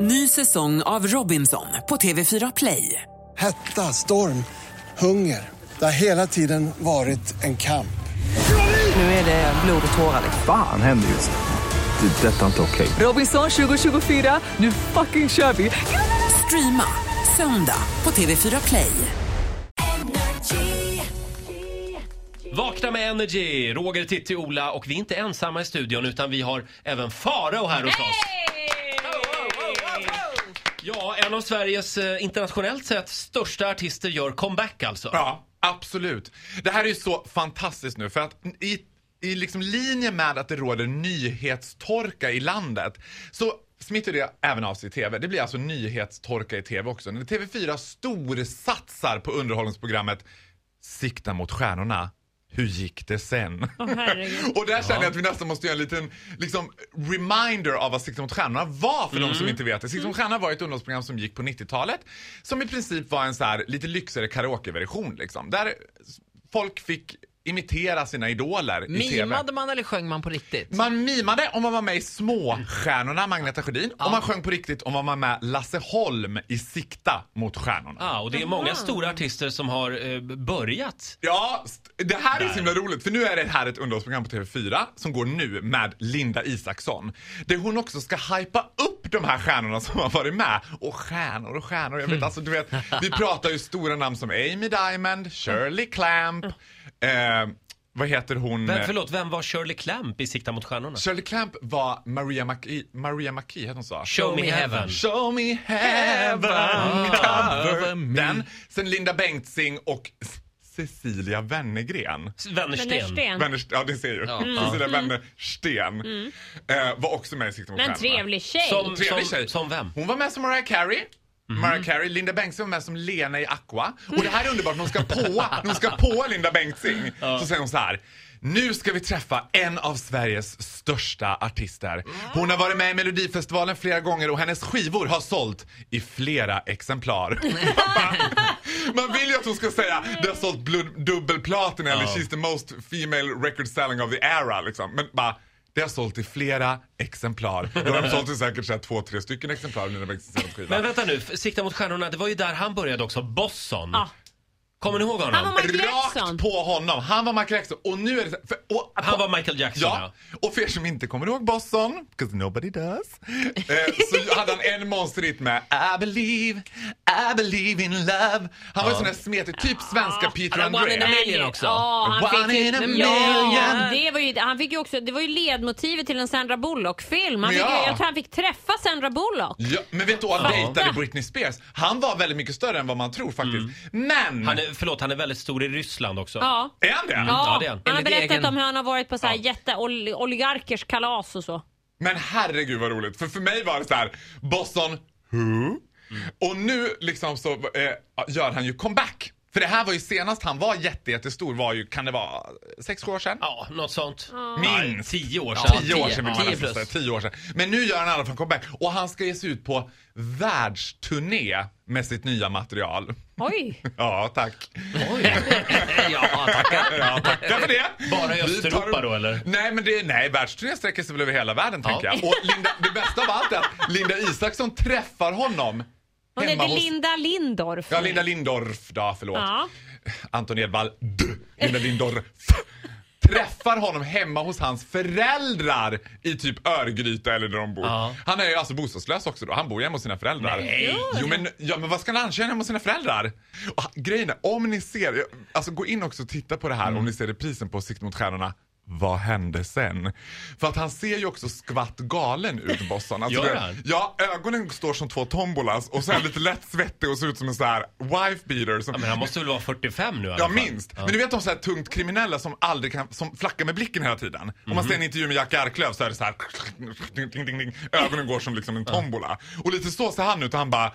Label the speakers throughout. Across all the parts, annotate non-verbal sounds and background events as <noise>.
Speaker 1: Ny säsong av Robinson på TV4 Play.
Speaker 2: Hetta, storm, hunger. Det har hela tiden varit en kamp.
Speaker 1: Nu är det blod och tårar.
Speaker 3: Fan händer just nu. Det. är Detta är inte okej.
Speaker 1: Robinson 2024, nu fucking kör vi! Streama söndag på TV4 Play.
Speaker 4: Vakna med Energy! Roger, Titti, Ola och vi är inte ensamma i studion utan vi har även Farao här hos oss. Ja, en av Sveriges eh, internationellt sett största artister gör comeback alltså.
Speaker 5: Ja, absolut. Det här är ju så fantastiskt nu för att i, i liksom linje med att det råder nyhetstorka i landet så smittar det även av sig i TV. Det blir alltså nyhetstorka i TV också. När TV4 storsatsar på underhållningsprogrammet Sikta mot stjärnorna. Hur gick det sen? <laughs> och där känner jag att vi nästan måste göra en liten liksom, reminder av vad Sikta mot stjärnorna var för de som inte vet det. Sikta
Speaker 6: Mm.
Speaker 5: mot stjärnorna var ett underhållsprogram som gick på 90-talet som i princip var en så här lite lyxigare karaokeversion liksom. Där folk fick imitera sina idoler i TV.
Speaker 6: Mimade man eller sjöng man på riktigt?
Speaker 5: Man mimade om man var med i Småstjärnorna, Magneta Sjödin. Och man sjöng på riktigt om man var med Lasse Holm i Sikta mot stjärnorna.
Speaker 4: Ja, och det är många stora artister som har eh, börjat.
Speaker 5: Ja, st- det här är så himla roligt för nu är det här ett underhållsprogram på TV4 som går nu med Linda Isaksson. Där hon också ska hypa upp de här stjärnorna som har varit med. Och stjärnor och stjärnor. Jag
Speaker 4: Mm.
Speaker 5: vet, alltså, du vet, vi pratar ju stora namn som Amy Diamond, Shirley Clamp, eh, vad heter hon?
Speaker 4: Mm. Vem, förlåt, vem var Shirley Clamp i Sikta mot stjärnorna?
Speaker 5: Shirley Clamp var Maria McKee, Maria McKee hette hon så?
Speaker 4: Show me heaven.
Speaker 5: Show me heaven, cover den. Sen Linda Bengtzing och S- Cecilia Wennergren.
Speaker 4: Wennersten.
Speaker 7: Wennersten.
Speaker 5: Wennerst- ja, det ser ju. Cecilia Wennersten eh, var också med i Sikte mot
Speaker 7: Mm. Men en
Speaker 5: stjärnorna.
Speaker 7: trevlig tjej.
Speaker 4: Som,
Speaker 5: Trevlig
Speaker 4: som,
Speaker 5: tjej.
Speaker 4: som vem?
Speaker 5: Hon var med som Mariah Carey. Mariah Carey, Linda Bengtzing var med som Lena i Aqua. Och det här är underbart, när hon ska påa, när hon ska påa Linda Bengtzing så säger hon så här. Nu ska vi träffa en av Sveriges största artister. Hon har varit med i Melodifestivalen flera gånger och hennes skivor har sålt i flera exemplar. Man vill ju att hon ska säga det har sålt blod- dubbelplatina eller she's the most female record selling of the era liksom. Men bara det har sålt i flera exemplar. Då har de sålt i säkert så här två, tre stycken exemplar av Nina Bengtzings senaste skiva.
Speaker 4: Men vänta nu, f- Sikta mot stjärnorna, det var ju där han började också, Bosson.
Speaker 7: Ja.
Speaker 4: Kommer ni ihåg
Speaker 7: Han var
Speaker 4: honom?
Speaker 7: Michael Jackson.
Speaker 5: Rakt på honom. Han var Michael Jackson. Och nu är det... så- För, och,
Speaker 4: Han var Michael Jackson, ja.
Speaker 5: Ja, och för er som inte kommer ihåg Boston, 'cause nobody does, eh, så hade han en monsterhit med I believe, I believe in love. Han var ju sån där smetig, typ svenska Peter
Speaker 6: Han var one in a
Speaker 5: André.
Speaker 6: million också.
Speaker 7: Ja, han
Speaker 5: One
Speaker 7: fick ju,
Speaker 5: in a
Speaker 7: ja,
Speaker 5: million.
Speaker 7: det var ju, han fick ju också, det var ju ledmotivet till en Sandra Bullock-film. Han fick,
Speaker 5: Ja.
Speaker 7: Jag tror han fick träffa Sandra Bullock.
Speaker 5: Ja, men vet du, han dejtade Britney Spears. Han var väldigt mycket större än vad man tror faktiskt. Men!
Speaker 4: Han är, förlåt, han är väldigt stor i Ryssland också.
Speaker 7: Ja.
Speaker 5: Är han det?
Speaker 4: ja, det är han.
Speaker 7: han har
Speaker 6: Enligt
Speaker 7: berättat
Speaker 6: egen-
Speaker 7: om hur han har varit på så här jätteoligarkers kalas och så.
Speaker 5: Men herregud vad roligt. För för mig var det så här, Boston who? Och nu liksom så eh, gör han ju comeback. För det här var ju senast han var jätte, jättestor var ju, kan det vara, sex, sju år sedan?
Speaker 4: Ja, något sånt.
Speaker 5: Minst.
Speaker 4: Tio år
Speaker 5: Ja,
Speaker 4: sedan.
Speaker 5: tio år sedan vill man
Speaker 6: tio
Speaker 5: nästan säga.
Speaker 6: plus.
Speaker 5: Tio år sedan. Men nu gör han i alla fall comeback. Och han ska ge sig ut på världsturné med sitt nya material.
Speaker 7: Oj!
Speaker 5: Ja, tack.
Speaker 4: <laughs>
Speaker 6: ja,
Speaker 5: <laughs>
Speaker 6: tackar.
Speaker 5: Ja, tackar för det.
Speaker 4: Bara
Speaker 5: Vi
Speaker 4: i
Speaker 5: tar
Speaker 4: Östeuropa
Speaker 5: upp-
Speaker 4: då, eller?
Speaker 5: Nej, men det, nej, världsturnén sträcker sig väl över hela världen tänker jag. Och Linda, det bästa av allt är att Linda Isaksson träffar honom
Speaker 7: Hon
Speaker 5: hemma
Speaker 7: heter
Speaker 5: hos...
Speaker 7: Linda Lindorff.
Speaker 5: Ja, Linda Lindorff då, förlåt.
Speaker 7: Ja.
Speaker 5: Anton Edwall, d, Linda Lindorff. Träffar honom hemma hos hans föräldrar i typ Örgryte eller där de bor.
Speaker 4: Ja.
Speaker 5: Han är ju alltså bostadslös också då. Han bor ju hemma hos sina föräldrar.
Speaker 4: Nej.
Speaker 5: Jo men, ja, men vad ska han köra hemma hos sina föräldrar? Och, han- grejen är, om ni ser, jag- alltså gå in också och titta på det här om ni ser reprisen på Sikt mot stjärnorna. Vad hände sen? För att han ser ju också skvatt galen
Speaker 4: <laughs>
Speaker 5: ut, Bossan. Alltså,
Speaker 4: Gör
Speaker 5: det-
Speaker 4: han?
Speaker 5: Ja, ögonen står som två tombolas och så är han lite lätt svettig och ser ut som en sån här wife beater. Som,
Speaker 4: Men han måste väl vara 45 nu i alla
Speaker 5: Ja,
Speaker 4: fall.
Speaker 5: minst. Men du vet de så här tungt kriminella som aldrig kan, som flackar med blicken hela tiden. Om
Speaker 4: Mhm.
Speaker 5: man ser en intervju med Jack Arklöv så är det så här, ding, ding, ding, ding. ögonen går som liksom en tombola. Och lite så ser han ut och han bara,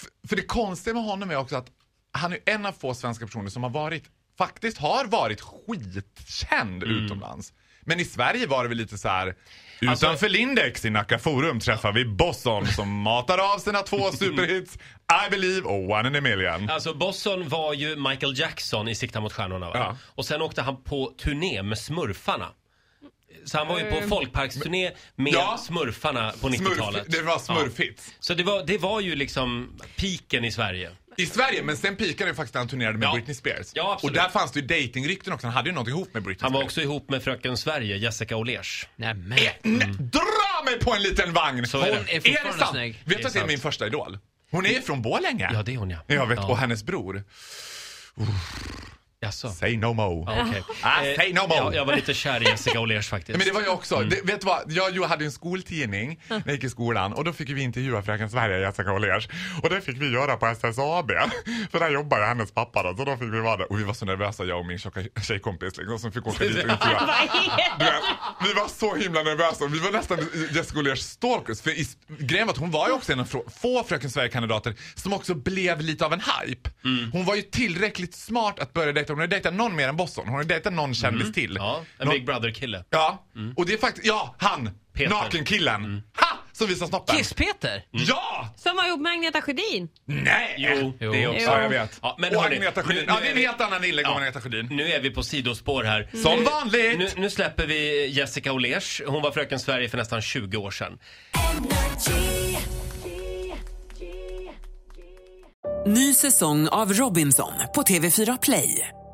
Speaker 5: för, för det konstiga med honom är också att han är en av få svenska personer som har varit, faktiskt har varit skitkänd
Speaker 4: Mm.
Speaker 5: utomlands. Men i Sverige var det väl lite så här.
Speaker 4: Alltså-
Speaker 5: Utanför Lindex i Nacka Forum träffar vi Bosson
Speaker 4: <laughs>
Speaker 5: som matar av sina två superhits I Believe och One in a Million.
Speaker 4: Alltså Bosson var ju Michael Jackson i Sikta mot stjärnorna va?
Speaker 5: Ja.
Speaker 4: Och sen åkte han på turné med Smurfarna. Så han var ju på folkparksturné med
Speaker 5: Ja.
Speaker 4: smurfarna på
Speaker 5: Smurf,
Speaker 4: 90-talet.
Speaker 5: det var
Speaker 4: Ja.
Speaker 5: smurfhits.
Speaker 4: Så det var, det var ju liksom piken i Sverige.
Speaker 5: I Sverige, men sen pikade det faktiskt när han turnerade med
Speaker 4: Ja.
Speaker 5: Britney Spears.
Speaker 4: Ja,
Speaker 5: och
Speaker 4: absolut.
Speaker 5: där fanns det ju dejtingrykten också, han hade ju något ihop med Britney
Speaker 4: Han var
Speaker 5: Spears.
Speaker 4: också ihop med fröken Sverige, Jessica Olers.
Speaker 6: Nämen.
Speaker 5: Nej, dra mig på en liten vagn!
Speaker 4: Mm. Så är det.
Speaker 5: Hon
Speaker 6: Är fortfarande
Speaker 5: det sant?
Speaker 6: snygg.
Speaker 5: Vet
Speaker 4: Det
Speaker 5: du
Speaker 4: är
Speaker 5: att det är
Speaker 4: sant.
Speaker 5: min första idol? Hon är ju från Borlänge.
Speaker 4: Ja, det är hon, ja.
Speaker 5: Jag vet,
Speaker 4: Ja.
Speaker 5: och hennes bror.
Speaker 4: Jaså?
Speaker 5: Say no mo.
Speaker 4: Ja, okej.
Speaker 5: Ah,
Speaker 4: Eh,
Speaker 5: say no more.
Speaker 4: Ja, jag var lite kär i Jessica Olers faktiskt.
Speaker 5: Nej, Men det var jag också.
Speaker 4: Mm.
Speaker 5: Det, vet du vad? Jag, jag hade ju en skoltidning när jag gick i skolan och då fick vi intervjua Fröken Sverige, Jessica Åhlérs. Och det fick vi göra på SSAB. <laughs> För där jobbar ju hennes pappa då, så då fick vi vara där. Och vi var så nervösa jag och min tjocka tjejkompis liksom, som fick
Speaker 4: <laughs>
Speaker 5: åka dit och intervjua. Du vet, vi var så himla nervösa. Vi var nästan Jessica Åhlérs stalkers. För i, grejen var att hon var ju också en av frå- få Fröken Sverige-kandidater som också blev lite av en hype.
Speaker 4: Mm.
Speaker 5: Hon var ju tillräckligt smart att börja dejta. Hon hade dejtat någon mer än Boston. Hon hade dejtat någon kändis till.
Speaker 4: Mm. Ja, en
Speaker 5: Någon-
Speaker 4: Big Brother-kille.
Speaker 5: Ja, och det är faktiskt, ja, han!
Speaker 4: Mm. Peter. Mm.
Speaker 5: Nakenkillen! Ha! Som visar snoppen. Mm.
Speaker 6: Kiss-Peter!
Speaker 5: Ja!
Speaker 7: Som var ihop med Agneta Sjödin.
Speaker 5: Nej!
Speaker 4: Jo,
Speaker 6: Jo.
Speaker 4: det är också.
Speaker 5: Eh, Ja, jag vet.
Speaker 4: Ja, men
Speaker 5: och
Speaker 4: hörni,
Speaker 5: Agneta
Speaker 4: nu-
Speaker 5: Sjödin.
Speaker 4: nu
Speaker 5: Ja, det är
Speaker 4: är
Speaker 5: en
Speaker 4: vi-
Speaker 5: helt annan inlägg om
Speaker 4: Ja.
Speaker 5: Agneta Sjödin.
Speaker 4: Nu är vi på sidospår här.
Speaker 5: Som
Speaker 4: Nu-
Speaker 5: vanligt!
Speaker 4: Nu, nu släpper vi Jessica Olers. Hon var Fröken Sverige för nästan 20 år sedan.
Speaker 1: Ny säsong av Robinson på TV4 Play.